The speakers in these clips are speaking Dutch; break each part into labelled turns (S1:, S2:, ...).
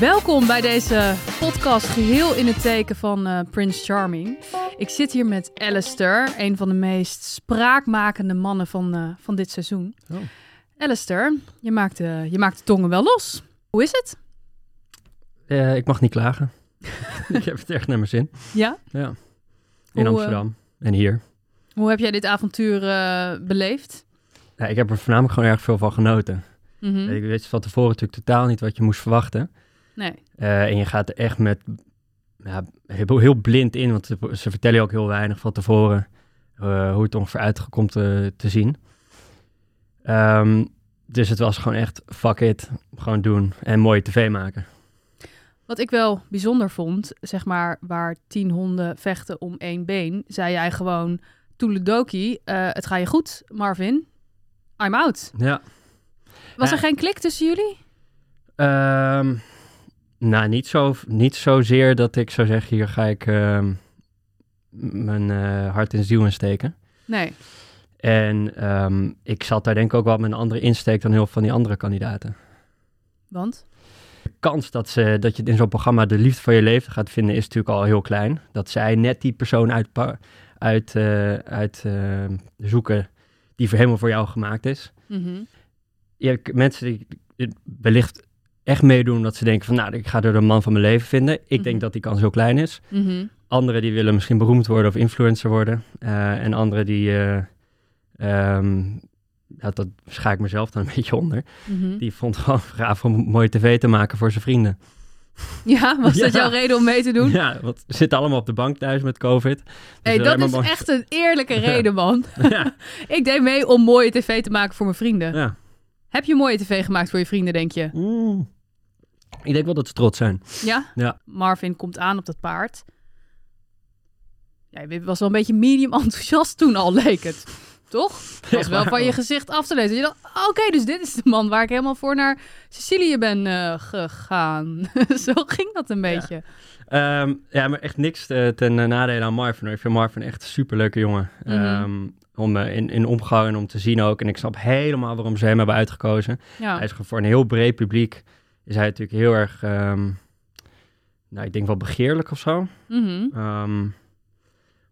S1: Welkom bij deze podcast geheel in het teken van eh Prince Charming. Ik zit hier met Alistair, een van de meest spraakmakende mannen van, eh, van dit seizoen.
S2: Oh.
S1: Alistair, je maakt, de, je maakt de tongen wel los. Hoe is het?
S2: Eh, ik mag niet klagen. ik heb het echt naar mijn zin.
S1: Ja?
S2: Ja.
S1: Hoe,
S2: In
S1: eh,
S2: Amsterdam. En hier.
S1: Hoe heb jij dit avontuur eh, beleefd?
S2: Ja, ik heb er voornamelijk gewoon erg veel van genoten.
S1: Mhm.
S2: Ik wist van tevoren natuurlijk totaal niet wat je moest verwachten.
S1: Nee.
S2: Eh, en je gaat er echt met ja, heel, heel blind in, want ze, ze vertellen je ook heel weinig van tevoren eh, hoe het ongeveer uitkomt te, te zien. Ehm, dus het was gewoon echt fuck it. Gewoon doen en mooie tv maken.
S1: Wat ik wel bijzonder vond, zeg maar, waar tien honden vechten om één been, zei jij gewoon, toeledoki, eh, het ga je goed, Marvin. I'm out.
S2: Ja.
S1: Was er
S2: Ja.
S1: geen klik tussen jullie?
S2: Ehm, nou, niet, zo, niet zozeer dat ik zou zeggen, hier ga ik ehm, m- mijn eh, hart en ziel in steken.
S1: Nee.
S2: En ehm, ik zat daar denk ik ook wel met een andere insteek dan heel veel van die andere kandidaten.
S1: Want?
S2: De kans dat, ze, dat je in zo'n programma de liefde van je leven gaat vinden is natuurlijk al heel klein. Dat zij net die persoon uitpa- uit, eh, uit, eh, zoeken die voor helemaal voor jou gemaakt is.
S1: Mhm.
S2: je hebt mensen die het wellicht echt meedoen omdat ze denken van nou, ik ga er de man van mijn leven vinden. Ik
S1: Mhm.
S2: denk dat die kans heel klein is.
S1: Mhm.
S2: Anderen die willen misschien beroemd worden of influencer worden. Eh, en anderen die, eh, ehm, nou, dat schaak ik mezelf dan een beetje onder.
S1: Mhm.
S2: Die vond het gewoon gaaf om mooie tv te maken voor zijn vrienden.
S1: Ja, was dat
S2: Ja.
S1: jouw reden om mee te doen?
S2: Ja, want ze zitten allemaal op de bank thuis met COVID. Dus
S1: hey,
S2: alleen
S1: dat
S2: maar
S1: is
S2: mooi-
S1: echt een eerlijke
S2: Ja.
S1: reden, man.
S2: ja,
S1: Ik deed mee om mooie tv te maken voor mijn vrienden.
S2: ja.
S1: Heb je mooie tv gemaakt voor je vrienden, denk je?
S2: Mm. Ik denk wel dat ze trots zijn.
S1: Ja?
S2: Ja.
S1: Marvin komt aan op dat paard. Ja, je was wel een beetje medium enthousiast toen al, leek het. Toch? Het was wel van je gezicht af te lezen. Je dacht, oké, dus dit is de man waar ik helemaal voor naar Sicilië ben eh, gegaan. Zo ging dat een beetje.
S2: Ehm, ja, maar echt niks eh, ten eh, nadele aan Marvin. hoor. Ik vind Marvin echt een superleuke jongen.
S1: Mhm.
S2: Ehm, om eh, in, in omgang en om te zien ook. En ik snap helemaal waarom ze hem hebben uitgekozen.
S1: Ja.
S2: Hij is gewoon voor een heel breed publiek. Is hij natuurlijk heel erg, ehm, nou, ik denk wel begeerlijk of zo.
S1: Mhm.
S2: Ehm,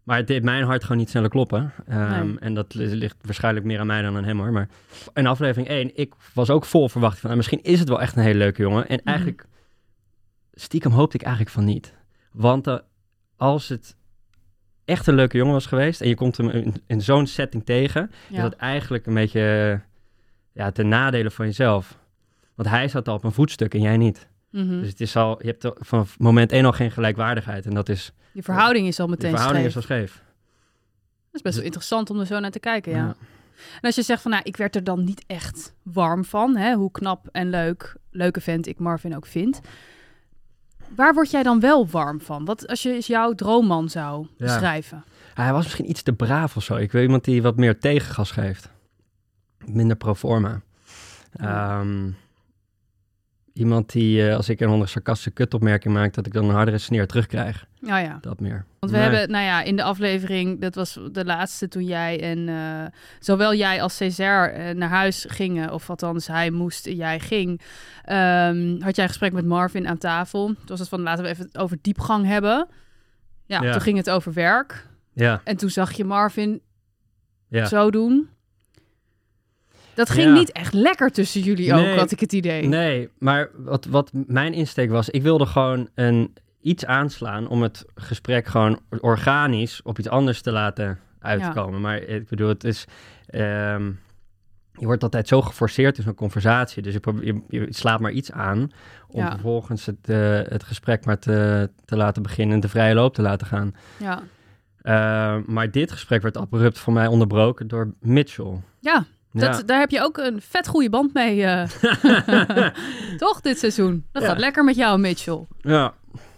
S2: maar het deed mijn hart gewoon niet sneller kloppen. Ehm,
S1: Nee.
S2: En dat li- ligt waarschijnlijk meer aan mij dan aan hem hoor. Maar in aflevering 1, ik was ook vol verwachting van... nou, misschien is het wel echt een hele leuke jongen. En
S1: Mhm.
S2: eigenlijk, stiekem hoopte ik eigenlijk van niet. Want eh, als het echt een leuke jongen was geweest... en je komt hem in, in zo'n setting tegen... is
S1: Ja.
S2: dat eigenlijk een beetje eh, ja, ten nadele van jezelf. Want hij zat al op een voetstuk en jij niet.
S1: Mhm.
S2: Dus het is al, je hebt er vanaf moment 1 al geen gelijkwaardigheid. En dat is...
S1: Je verhouding is al
S2: De
S1: meteen
S2: verhouding
S1: scheef.
S2: is wel scheef.
S1: Dat is best wel interessant om er zo naar te kijken, ja.
S2: Ja.
S1: En als je zegt van, nou, ik werd er dan niet echt warm van, hè, hoe knap en leuk, leuke vent ik Marvin ook vind. Waar word jij dan wel warm van? Wat als je eens jouw droomman zou beschrijven?
S2: Hij was misschien iets te braaf of zo. Ik wil iemand die wat meer tegengas geeft. Minder pro forma. Ehm, iemand die, eh, als ik een of andere sarcastische kutopmerking maak, dat ik dan een hardere sneer terugkrijg.
S1: Nou ja,
S2: Dat meer.
S1: want we
S2: Nee.
S1: hebben, nou ja, in de aflevering, dat was de laatste toen jij en eh, zowel jij als César eh, naar huis gingen, of althans hij moest en jij ging, ehm, had jij een gesprek met Marvin aan tafel. Toen was het van, laten we even het over diepgang hebben. ja.
S2: Ja.
S1: toen ging het over werk.
S2: Ja,
S1: En toen zag je Marvin
S2: ja.
S1: zo doen. Dat ging
S2: Ja.
S1: niet echt lekker tussen jullie ook,
S2: Nee.
S1: had ik het idee.
S2: Nee, maar wat, wat mijn insteek was, ik wilde gewoon een, iets aanslaan om het gesprek gewoon organisch op iets anders te laten uitkomen. Maar ik bedoel, het is. ehm, je wordt altijd zo geforceerd in zo'n conversatie. Dus je, probe- je, je slaat maar iets aan om
S1: Ja.
S2: vervolgens het, eh, het gesprek maar te, te laten beginnen en de vrije loop te laten gaan.
S1: Ja.
S2: Ehm, maar dit gesprek werd abrupt voor mij onderbroken door Mitchell.
S1: Ja,
S2: Ja.
S1: dat, daar heb je ook een vet goede band mee, eh, toch, dit seizoen? Dat
S2: Ja.
S1: gaat lekker met jou, Mitchell.
S2: ja,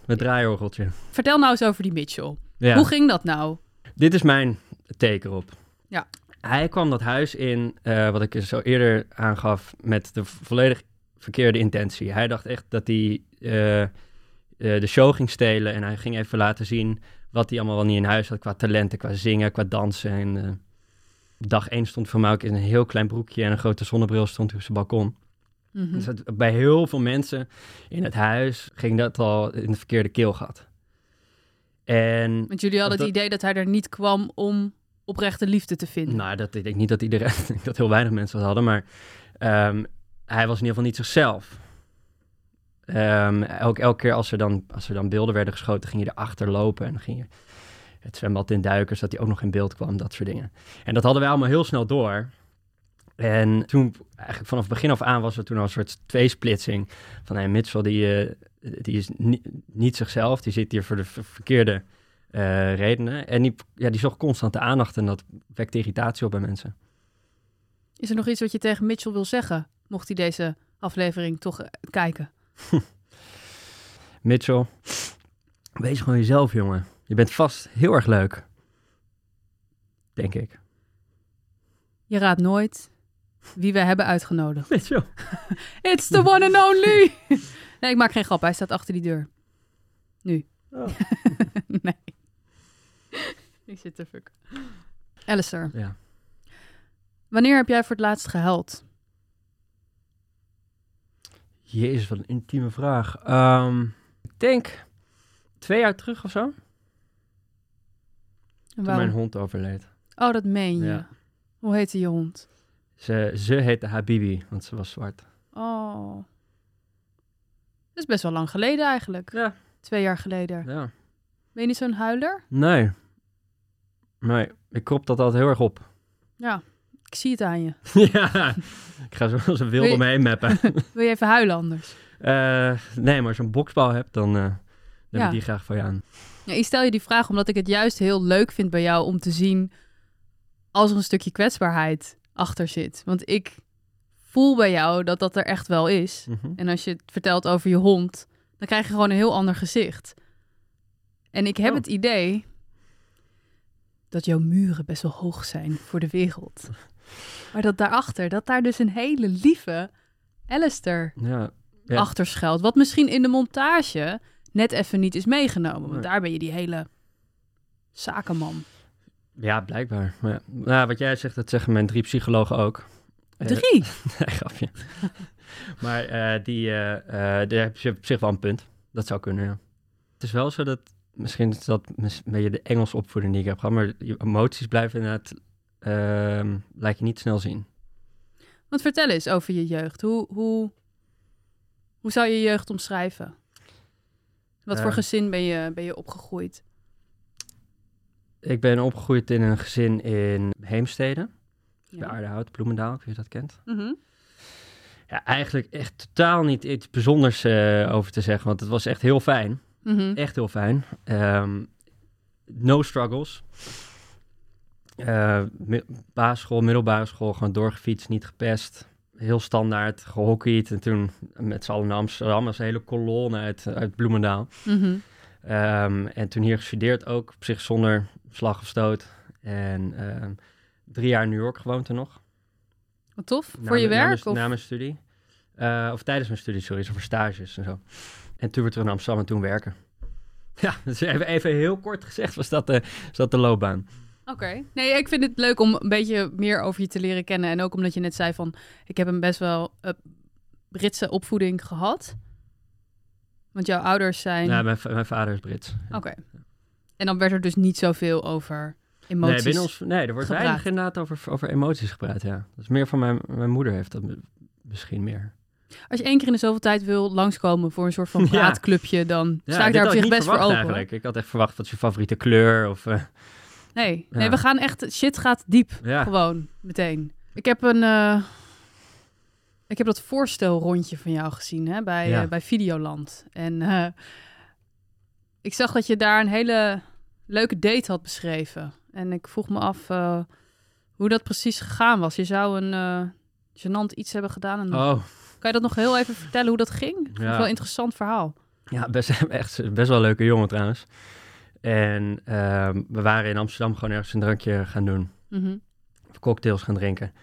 S2: het draaiorgeltje.
S1: Vertel nou eens over die Mitchell.
S2: Ja.
S1: Hoe ging dat nou?
S2: Dit is mijn teken op.
S1: Ja.
S2: Hij kwam dat huis in, eh, wat ik zo eerder aangaf, met de volledig verkeerde intentie. Hij dacht echt dat hij eh, eh, de show ging stelen en hij ging even laten zien wat hij allemaal wel niet in huis had qua talenten, qua zingen, qua dansen. En, eh, op dag één stond voor mij ook in een heel klein broekje en een grote zonnebril stond hij op zijn balkon.
S1: Mhm.
S2: Dus het- bij heel veel mensen in het huis ging dat al in het verkeerde keelgat. En
S1: Want jullie hadden
S2: dat-
S1: het idee dat hij er niet kwam om oprechte liefde te vinden.
S2: nou, dat ik denk niet dat iedereen, ik denk dat heel weinig mensen dat hadden, maar ehm, hij was in ieder geval niet zichzelf. Ehm, ook elke keer als er, dan, als er dan beelden werden geschoten, ging hij erachter lopen en dan ging je het zwembad in duikers, dat hij ook nog in beeld kwam, dat soort dingen. En dat hadden wij allemaal heel snel door. En toen, eigenlijk vanaf begin af aan, was er toen al een soort tweesplitsing van hey, Mitchell, die, eh, die is ni- niet zichzelf, die zit hier voor de ver- verkeerde eh, redenen. En die, ja, die zocht constante aandacht en dat wekte irritatie op bij mensen.
S1: Is er nog iets wat je tegen Mitchell wil zeggen? Mocht hij deze aflevering toch eh, kijken?
S2: Mitchell, wees gewoon jezelf, jongen. Je bent vast heel erg leuk. Denk ik.
S1: Je raadt nooit wie we hebben uitgenodigd.
S2: Mitchell.
S1: It's the one and only! nee, ik maak geen grap. Hij staat achter die deur. Nu.
S2: Oh.
S1: nee. ik zit te fuck. Alistair,
S2: Ja.
S1: wanneer heb jij voor het laatst gehuild?
S2: Jezus, wat een intieme vraag. Ehm, ik denk twee jaar terug of zo.
S1: En
S2: Toen mijn
S1: waarom?
S2: hond overleed.
S1: Oh, dat meen je.
S2: Ja.
S1: Hoe heette je hond?
S2: Ze, ze heette Habibi, want ze was zwart.
S1: Oh. Dat is best wel lang geleden eigenlijk.
S2: Ja.
S1: Twee jaar geleden.
S2: Ja.
S1: Ben je niet zo'n huiler?
S2: Nee. Nee, ik krop dat altijd heel erg op.
S1: Ja, ik zie het aan je.
S2: ja, ik ga zo als een wilde
S1: Wil je-
S2: omheen mappen.
S1: Wil je even huilen anders?
S2: Eh, nee, maar als je een boksbal hebt, dan, eh, dan heb
S1: Ja.
S2: ik die graag voor je aan.
S1: Ja, ik stel je die vraag omdat ik het juist heel leuk vind bij jou om te zien als er een stukje kwetsbaarheid achter zit. Want ik voel bij jou dat dat er echt wel is.
S2: Mhm.
S1: En als je het vertelt over je hond, dan krijg je gewoon een heel ander gezicht. En ik heb
S2: Oh.
S1: het idee dat jouw muren best wel hoog zijn voor de wereld. Maar dat daarachter, dat daar dus een hele lieve Alistair
S2: Ja, Ja.
S1: achter schuilt. Wat misschien in de montage net even niet is meegenomen. Want
S2: Nee.
S1: daar ben je die hele zakenman.
S2: ja, blijkbaar. Maar, ja. Nou, wat jij zegt, dat zeggen mijn drie psychologen ook. Eh,
S1: Drie.
S2: nee, grapje. maar eh, die, eh, eh, daar heb je op zich wel een punt. Dat zou kunnen, ja. Het is wel zo dat, misschien is dat mis- een beetje de Engels opvoeding die ik heb gehad, maar je emoties blijven inderdaad, ehm laat je niet snel zien.
S1: Want vertel eens over je jeugd. Hoe, hoe, hoe zou je je jeugd omschrijven? Wat voor
S2: Eh.
S1: gezin ben je, ben je opgegroeid?
S2: Ik ben opgegroeid in een gezin in Heemstede, bij
S1: Ja.
S2: Aardehout, Bloemendaal, of je dat kent.
S1: Mhm.
S2: Ja, eigenlijk echt totaal niet iets bijzonders eh, over te zeggen, want het was echt heel fijn.
S1: Mhm.
S2: Echt heel fijn. Ehm, no struggles. Eh, mi- basisschool, middelbare school, gewoon doorgefietst, niet gepest. Heel standaard, gehockeyd. En toen met z'n allen naar Amsterdam. Dat is een hele kolonne uit, uit Bloemendaal.
S1: Mhm.
S2: Ehm, en toen hier gestudeerd ook, op zich zonder slag of stoot. En ehm, drie jaar in New York gewoond er nog.
S1: Wat tof.
S2: Na
S1: voor je
S2: mijn- na
S1: werk?
S2: mijn-
S1: of?
S2: Na mijn studie. Eh, of tijdens mijn studie, sorry. Zo voor stages en zo. En toen weer terug naar Amsterdam en toen werken. Ja, dus even, even heel kort gezegd was dat de, was dat de loopbaan.
S1: Oké. Nee, ik vind het leuk om een beetje meer over je te leren kennen. En ook omdat je net zei van, ik heb een best wel eh, Britse opvoeding gehad. Want jouw ouders zijn...
S2: Ja, Nou, mijn, va- mijn vader is Brits.
S1: Oké. En dan werd er dus niet zoveel over emoties.
S2: Nee, binnen ons, nee, er wordt
S1: gepraat.
S2: weinig inderdaad over, over emoties gepraat, ja. Dat is meer van mijn, mijn moeder heeft dat m- misschien meer.
S1: Als je één keer in de zoveel tijd wil langskomen voor een soort van
S2: Ja.
S1: praatclubje, dan
S2: Ja,
S1: sta ik
S2: dit
S1: daar op
S2: had
S1: zich
S2: niet
S1: best voor
S2: verwacht
S1: open. hoor.
S2: Eigenlijk. Ik had echt verwacht, wat is je favoriete kleur? Of, eh,
S1: Nee, nee,
S2: Ja. Ah.
S1: we gaan echt... Shit gaat diep.
S2: ja.
S1: Gewoon, meteen. Ik heb een... eh, ik heb dat voorstelrondje van jou gezien hè, bij,
S2: Ja.
S1: eh, bij Videoland. En eh, ik zag dat je daar een hele leuke date had beschreven. En ik vroeg me af eh, hoe dat precies gegaan was. Je zou een eh gênant iets hebben gedaan. En
S2: Oh,
S1: Kan je dat nog heel even vertellen hoe dat ging? Ik vond het
S2: Ja.
S1: wel een interessant verhaal.
S2: Ja, best, echt, best wel een leuke jongen trouwens. En ehm, we waren in Amsterdam gewoon ergens een drankje gaan doen.
S1: Mhm.
S2: Of cocktails gaan drinken.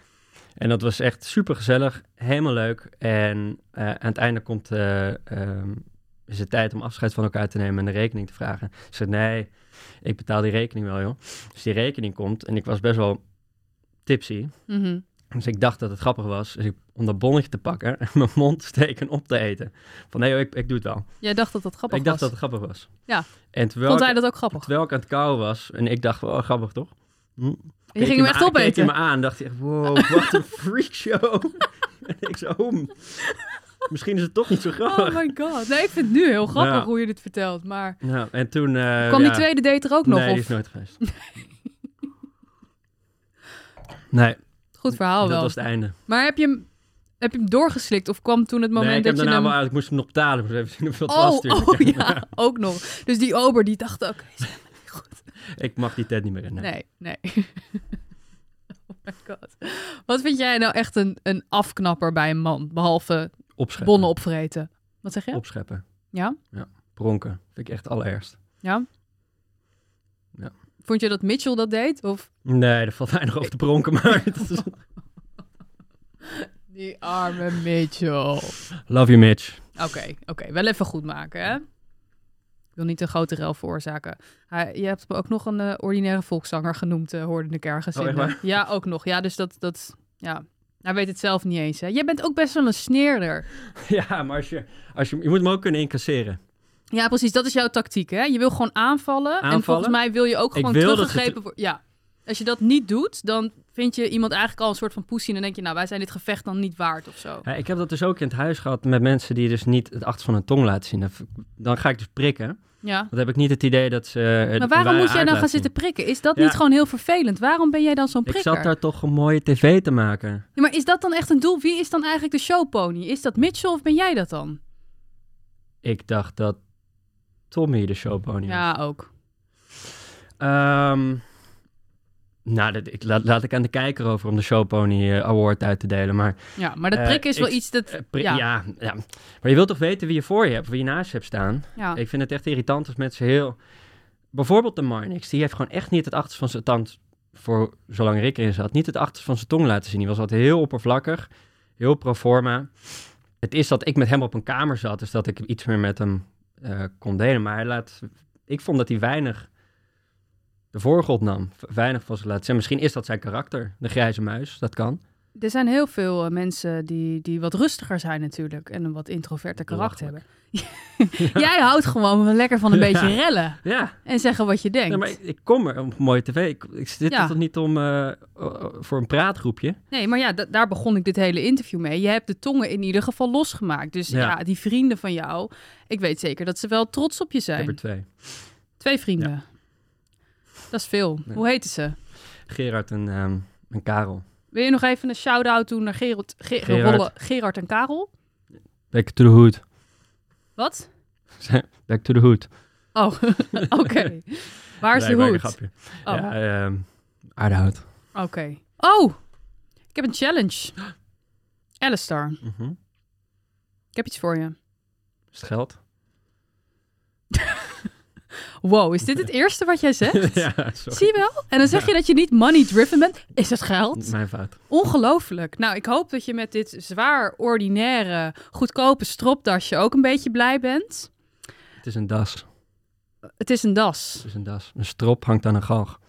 S2: En dat was echt super gezellig, helemaal leuk. En eh, aan het einde komt, eh, ehm, is het tijd om afscheid van elkaar te nemen en de rekening te vragen. Ze zei, nee, ik betaal die rekening wel, joh. Dus die rekening komt en ik was best wel tipsy.
S1: Mhm.
S2: Dus ik dacht dat het grappig was. Dus ik, om dat bonnetje te pakken en mijn mond te steken en op te eten. Van nee, joh, ik, ik doe het wel.
S1: Jij dacht dat dat grappig
S2: ik dacht
S1: was.
S2: dat het grappig was.
S1: Ja.
S2: En terwijl,
S1: Vond
S2: ik,
S1: hij dat ook grappig?
S2: terwijl ik aan het kauwen was en ik dacht, wow, grappig toch? Hm.
S1: Je ging hem
S2: Keek hij
S1: echt
S2: me aan- Keek hij
S1: opeten.
S2: me aan dacht hij echt, wow, wat een freakshow. en ik zo, "Hmm, misschien is het toch niet zo grappig.
S1: Oh my god. Nee, ik vind het nu heel grappig
S2: Ja.
S1: hoe je dit vertelt. Maar
S2: nou, en toen... eh,
S1: Oh. kwam
S2: ja.
S1: die tweede date er ook nog?
S2: Nee, die
S1: of?
S2: is nooit geweest. nee,
S1: Goed verhaal
S2: dat
S1: Oh, wel.
S2: was het einde.
S1: Maar heb je, hem, heb je hem doorgeslikt? Of kwam toen het moment
S2: nee, ik heb
S1: dat je
S2: daarna
S1: hem...
S2: wel uit. Ik moest hem nog betalen. Ik moest even zien hoeveel het was.
S1: Oh,
S2: natuurlijk.
S1: oh ja, ook nog. Dus die ober die dacht ook...
S2: Ik mag die tijd niet meer in. nee.
S1: Nee, nee. oh my god. Wat vind jij nou echt een, een afknapper bij een man? Behalve
S2: Opscheppen.
S1: bonnen opvreten. Wat zeg je?
S2: Opscheppen.
S1: Ja?
S2: Pronken. Vind ik echt allerergst.
S1: Ja?
S2: Ja.
S1: Vond je dat Mitchell dat deed? Of
S2: Nee, er valt weinig over te pronken. Maar het is-
S1: die arme Mitchell?
S2: Love you, Mitch.
S1: Oké, oké. Wel even goed maken, hè? Ik wil niet een grote rel veroorzaken. Hij, je hebt me ook nog een eh, ordinaire volkszanger genoemd, eh, hoorde ik ergens
S2: Oh,
S1: in.
S2: echt
S1: de-
S2: waar?
S1: Ja, ook nog. Ja, dus dat, dat... Ja. Hij weet het zelf niet eens, hè? Jij bent ook best wel een sneerder.
S2: ja, maar als je, als je, je moet hem ook kunnen incasseren.
S1: Ja, precies. Dat is jouw tactiek, hè? Je wil gewoon aanvallen. En
S2: Aanvallen?
S1: volgens mij wil je ook gewoon
S2: wil dat ze
S1: teruggegrepen worden. Ja. Als je dat niet doet, dan vind je iemand eigenlijk al een soort van poesie. En dan denk je, nou, wij zijn dit gevecht dan niet waard of zo.
S2: Ja, ik heb dat dus ook in het huis gehad met mensen die dus niet het achter van hun tong laten zien. Dan- Dan ga ik dus prikken.
S1: Ja.
S2: Dan heb ik niet het idee dat ze... eh,
S1: Maar
S2: de
S1: waarom
S2: ware
S1: moet jij
S2: aard
S1: dan gaan
S2: laten zien.
S1: zitten prikken? Is dat
S2: Ja.
S1: niet gewoon heel vervelend? Waarom ben jij dan zo'n
S2: Ik
S1: prikker?
S2: zat daar toch een mooie tv te maken.
S1: Ja, maar is dat dan echt een doel? Wie is dan eigenlijk de showpony? Is dat Mitchell of ben jij dat dan?
S2: Ik dacht dat Tommy de showpony was.
S1: Ja, ook.
S2: Ehm, nou, dat, ik, laat, laat ik aan de kijker over om de Showpony eh, Award uit te delen. Maar,
S1: Ja, maar dat
S2: Eh,
S1: prikken is wel
S2: ik-
S1: iets dat...
S2: eh, pri-
S1: Ja.
S2: ja. Ja, maar je wilt toch weten wie je voor je hebt, wie je naast je hebt staan?
S1: Ja,
S2: Ik vind het echt irritant als mensen heel... Bijvoorbeeld de Marnix, die heeft gewoon echt niet het achterste van zijn tand... voor zolang Rick erin zat, niet het achterste van zijn tong laten zien. Die was altijd heel oppervlakkig, heel pro forma. Het is dat ik met hem op een kamer zat, dus dat ik iets meer met hem eh, kon delen. Maar hij laat, ik vond dat hij weinig de voorgrond nam, v- weinig van zich laat zien. Misschien is dat zijn karakter, de grijze muis, dat kan.
S1: er zijn heel veel eh, mensen die, die wat rustiger zijn natuurlijk. En een wat introverter karakter hebben. Jij houdt gewoon wel lekker van een
S2: Ja.
S1: beetje rellen.
S2: Ja,
S1: En zeggen wat je denkt.
S2: nee, maar ik, ik kom er op mooie tv. Ik, ik zit
S1: Ja.
S2: er toch niet om, eh, o- voor een praatgroepje.
S1: Nee, maar ja, da- daar begon ik dit hele interview mee. Je hebt de tongen in ieder geval losgemaakt. Dus ja.
S2: Ja.
S1: die vrienden van jou, ik weet zeker dat ze wel trots op je
S2: Ik heb er
S1: zijn.
S2: twee.
S1: Twee vrienden. Dat is veel.
S2: Ja.
S1: Hoe heten ze?
S2: Gerard en, ehm, en Karel.
S1: Wil je nog even een shout-out doen naar Gerard, Ge-
S2: Gerard.
S1: Rolle- Gerard en Karel?
S2: Back to the hood.
S1: Wat?
S2: Back to the hood.
S1: Oh, oké. Waar is
S2: Nee,
S1: de
S2: maar een
S1: hoed?
S2: grapje.
S1: Oh,
S2: Ja, ehm, aardehout.
S1: oké. Oh, ik heb een challenge. Alistair,
S2: Mhm.
S1: ik heb iets voor je.
S2: Is het geld?
S1: Wow, is dit het eerste wat jij zegt?
S2: ja, sorry.
S1: Zie je wel? En dan zeg je dat je niet money-driven bent. Is het geld?
S2: Mijn fout.
S1: Ongelooflijk. Nou, ik hoop dat je met dit zwaar, ordinaire, goedkope stropdasje ook een beetje blij bent.
S2: Het is een das.
S1: Het is een das.
S2: Het is een das. Een strop hangt aan een galg.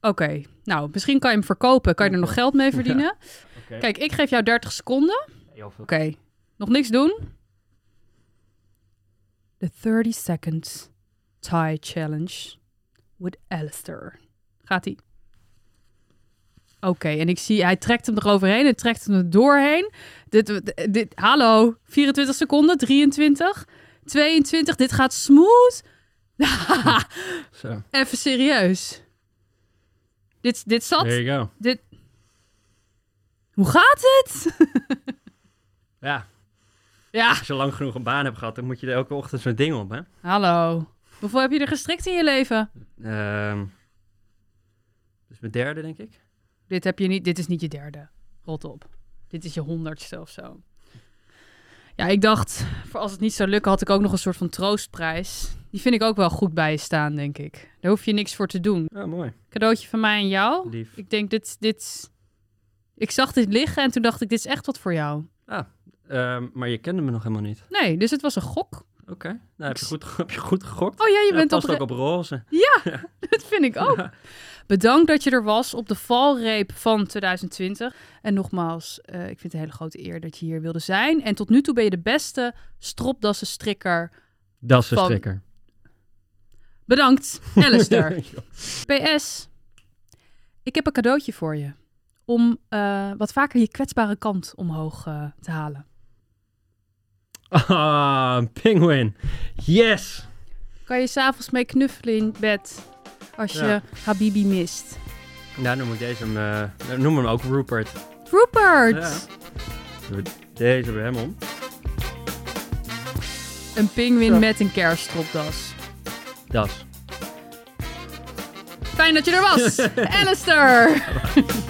S1: Oké, nou, misschien kan je hem verkopen. Kan je er nog geld mee verdienen? Kijk, ik geef jou 30 seconden. Oké, nog niks doen. De 30 Second Tie Challenge with Alistair. Gaat ie. Oké, en ik zie, hij trekt hem eroverheen en trekt hem er doorheen. Dit, dit, hallo, 24 seconden, 23, 22, dit gaat smooth.
S2: Zo.
S1: Even serieus. Dit, dit zat,
S2: There you go.
S1: dit... Hoe gaat het?
S2: Ja,
S1: Ja,
S2: als je lang genoeg een baan hebt gehad, dan moet je er elke ochtend zo'n ding op, hè?
S1: hallo. Hoeveel heb je er gestrikt in je leven?
S2: Ehm dus mijn derde, denk ik.
S1: Dit, heb je niet, dit is niet je derde. Rot op. Dit is je honderdste of zo. Ja, ik dacht, voor als het niet zou lukken, had ik ook nog een soort van troostprijs. Die vind ik ook wel goed bij je staan, denk ik. Daar hoef je niks voor te doen.
S2: Oh, mooi.
S1: Cadeautje van mij en jou.
S2: Lief.
S1: Oh. Ik denk, dit, dit... Ik zag dit liggen en toen dacht ik, dit is echt wat voor jou.
S2: Ehm, maar je kende me nog helemaal niet.
S1: Nee, dus het was een gok.
S2: Oké. Oké, nou heb je, goed, heb je goed gegokt.
S1: Oh ja, je
S2: Ja,
S1: bent op...
S2: past ook op roze.
S1: Dat vind ik ook. Bedankt dat je er was op de valreep van 2020. En nogmaals, eh, ik vind het een hele grote eer dat je hier wilde zijn. En tot nu toe ben je de beste stropdassenstrikker.
S2: Dat is een
S1: Van-
S2: strikker.
S1: Bedankt, Alistair. PS, ik heb een cadeautje voor je. Om eh, wat vaker je kwetsbare kant omhoog eh, te halen.
S2: Ah, een penguin. Yes!
S1: Kan je s'avonds mee knuffelen in bed als je
S2: Ja.
S1: Habibi mist.
S2: Nou, noem ik deze hem, eh, noem hem ook Rupert.
S1: Rupert!
S2: Ja. Doe Deze bij hem om.
S1: Een pinguïn
S2: Zo.
S1: met een kerststropdas.
S2: Das.
S1: Fijn dat je er was, Alistair!